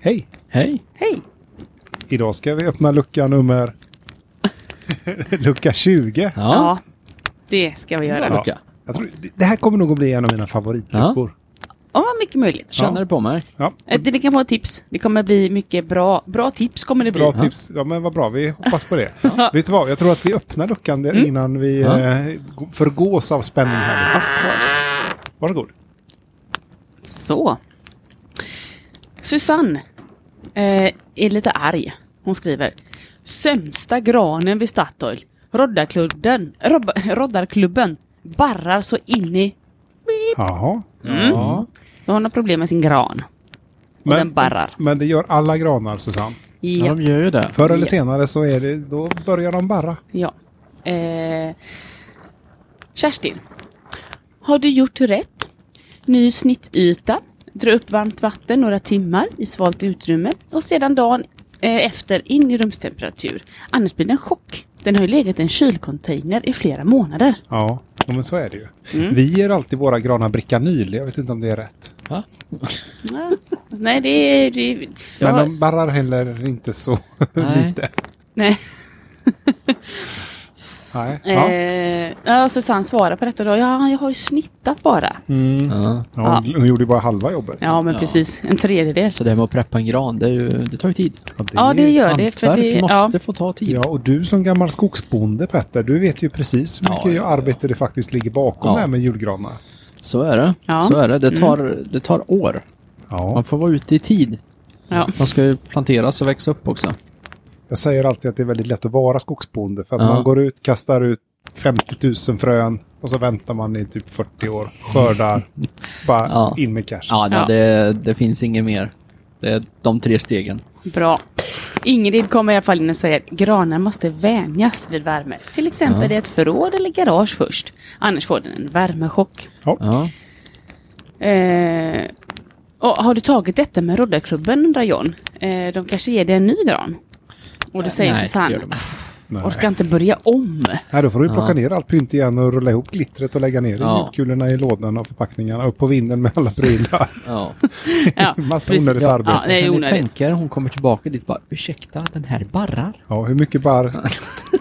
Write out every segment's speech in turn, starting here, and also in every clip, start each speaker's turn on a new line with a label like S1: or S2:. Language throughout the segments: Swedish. S1: Hej!
S2: Hej!
S3: Hej!
S1: Idag ska vi öppna lucka nummer... lucka 20.
S3: Ja.
S2: Ja,
S3: det ska vi göra.
S1: Ja.
S2: lucka.
S1: Jag tror, det här kommer nog att bli en av mina favoritluckor.
S3: Ja, mycket möjligt.
S2: Känner det på mig.
S1: Ja.
S3: Eh, Det, det kan vara tips. Det kommer bli mycket bra. Bra tips kommer det bli.
S1: Bra tips. Ja men vad bra, vi hoppas på det. Vet du vad, jag tror att vi öppnar luckan där innan vi
S2: Ja.
S1: eh, förgås av spänning här.
S3: Mm. Of course.
S1: Varsågod.
S3: Så. Susanne eh, är lite arg. Hon skriver. Sämsta granen vid Statoil. Roddarklubben, rob, roddarklubben barrar så in i...
S1: Jaha. Ja.
S3: Så hon har problem med sin gran. Mm. Och den
S1: Men,
S3: barrar.
S1: men det gör alla granar Susanne.
S2: Ja,
S3: Ja.
S2: de gör ju det.
S1: Förr eller
S3: Ja.
S1: senare så är det, då börjar de barra.
S3: ja. Eh, Kerstin. Har du gjort rätt? Ny snittyta. Dra upp varmt vatten några timmar i svalt utrymme och sedan dagen eh, efter in i rumstemperatur. Annars blir det en chock. Den har ju legat i en kylcontainer i flera månader.
S1: Ja. ja, men så är det ju.
S3: Mm.
S1: Vi ger alltid våra granar Bricanyl, jag vet inte om det är rätt.
S2: Va?
S3: Nej, det är... Det,
S1: Men
S3: ja,
S1: de barrar heller inte så
S2: Nej.
S1: lite.
S3: nej.
S1: Nej. Ja.
S3: Eh, ja, Susanne svarar på detta då. Ja, jag har ju snittat bara.
S1: Mm.
S2: Ja.
S1: Ja, hon, hon gjorde ju bara halva jobbet.
S3: Ja, men
S2: Ja.
S3: precis. En tredjedel.
S2: Så det här med att preppa en gran, det, är ju, det tar ju tid.
S3: Ja, det gör det. För
S2: Hantverk
S3: det ja.
S2: måste få ta tid.
S1: Ja, och du som gammal skogsbonde Petter, du vet ju precis hur
S2: Ja,
S1: mycket
S2: ja, ja.
S1: arbete det faktiskt ligger bakom
S2: Ja.
S1: det här med julgranar.
S2: Så är det.
S3: Ja. Mm.
S2: Så är det. Det tar, det tar år. Man
S1: Ja.
S2: får vara ute i tid.
S3: Ja.
S2: De ska ju planteras och växa upp också.
S1: Jag säger alltid att det är väldigt lätt att vara skogsbonde för att
S2: Ja.
S1: man går ut, kastar ut 50 000 frön och så väntar man i typ 40 år, skördar, bara
S2: Ja.
S1: in med cash.
S2: Ja, nej,
S3: Ja.
S2: Det, det finns inget mer. Det är de tre stegen.
S3: Bra. Ingrid kommer i alla fall in och säger granar måste vänjas vid värme. Till exempel i ett förråd eller garage först. Annars får den en värmechock.
S2: Ja.
S3: Eh, och har du tagit detta med roddarklubben undrar John? Eh, de kanske ger dig en ny gran? Och då säger
S2: Nej, det
S3: Susanne,
S2: gör de inte.
S1: Nej.
S3: orkar inte börja om.
S1: Nej, då får du plocka ner allt pynt igen och rulla ihop glittret och lägga ner
S2: Ja.
S1: julkulorna i lådorna och förpackningarna upp på vinden med alla prylar.
S2: Ja.
S3: Ja,
S1: Massa
S3: precis.
S1: onödigt arbete.
S3: Ja, det är
S2: kan ni
S3: onödigt.
S2: tänka er, hon kommer tillbaka dit och bara ursäkta, den här barrar.
S1: Ja, hur mycket barr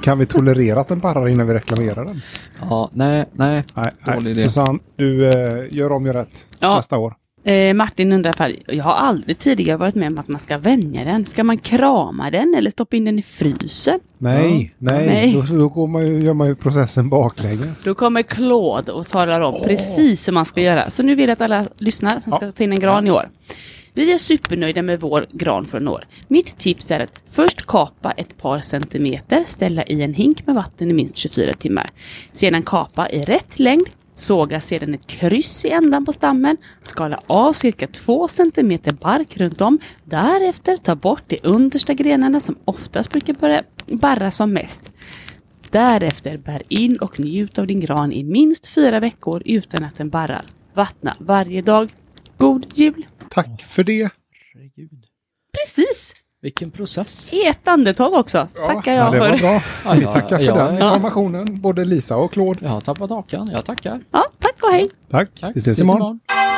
S1: kan vi tolerera att den barrar innan vi reklamerar den?
S2: Ja, nej, nej.
S1: Nej,
S2: Dålig
S1: nej.
S2: idé.
S1: Susanne, du eh, gör om, gör rätt
S3: Ja.
S1: nästa år.
S3: Eh, Martin undrar ifall, jag har aldrig tidigare varit med om att man ska vänja den. Ska man krama den eller stoppa in den i frysen?
S1: Nej, nej,
S3: Nej.
S1: Då, då går man ju, gör man ju processen baklänges.
S3: Då kommer Claude och talar om precis hur man ska göra. Så nu vill jag att alla lyssnar som ska ta in en gran i år. Vi är supernöjda med vår gran från år. Mitt tips är att först kapa ett par centimeter, ställa i en hink med vatten i minst 24 timmar. Sedan kapa i rätt längd, såga sedan ett kryss i ändan på stammen, skala av cirka 2 cm bark runt om. Därefter ta bort de understa grenarna som oftast brukar börja barra som mest. Därefter bär in och njut av din gran i minst fyra veckor utan att den barrar. Vattna varje dag. God jul!
S1: Tack för det.
S2: Herregud.
S3: Precis!
S2: Vilken process.
S3: I ett andetag också. Tackar jag
S1: det var
S3: för.
S1: bra.
S2: Ja,
S1: Vi
S2: ja,
S1: tackar för
S2: ja,
S1: den
S2: ja.
S1: informationen, både Lisa och Claude.
S2: Jag har tappat hakan, jag tackar.
S3: Ja, tack och hej!
S1: Tack.
S2: Tack.
S1: Vi ses imorgon.
S2: imorgon.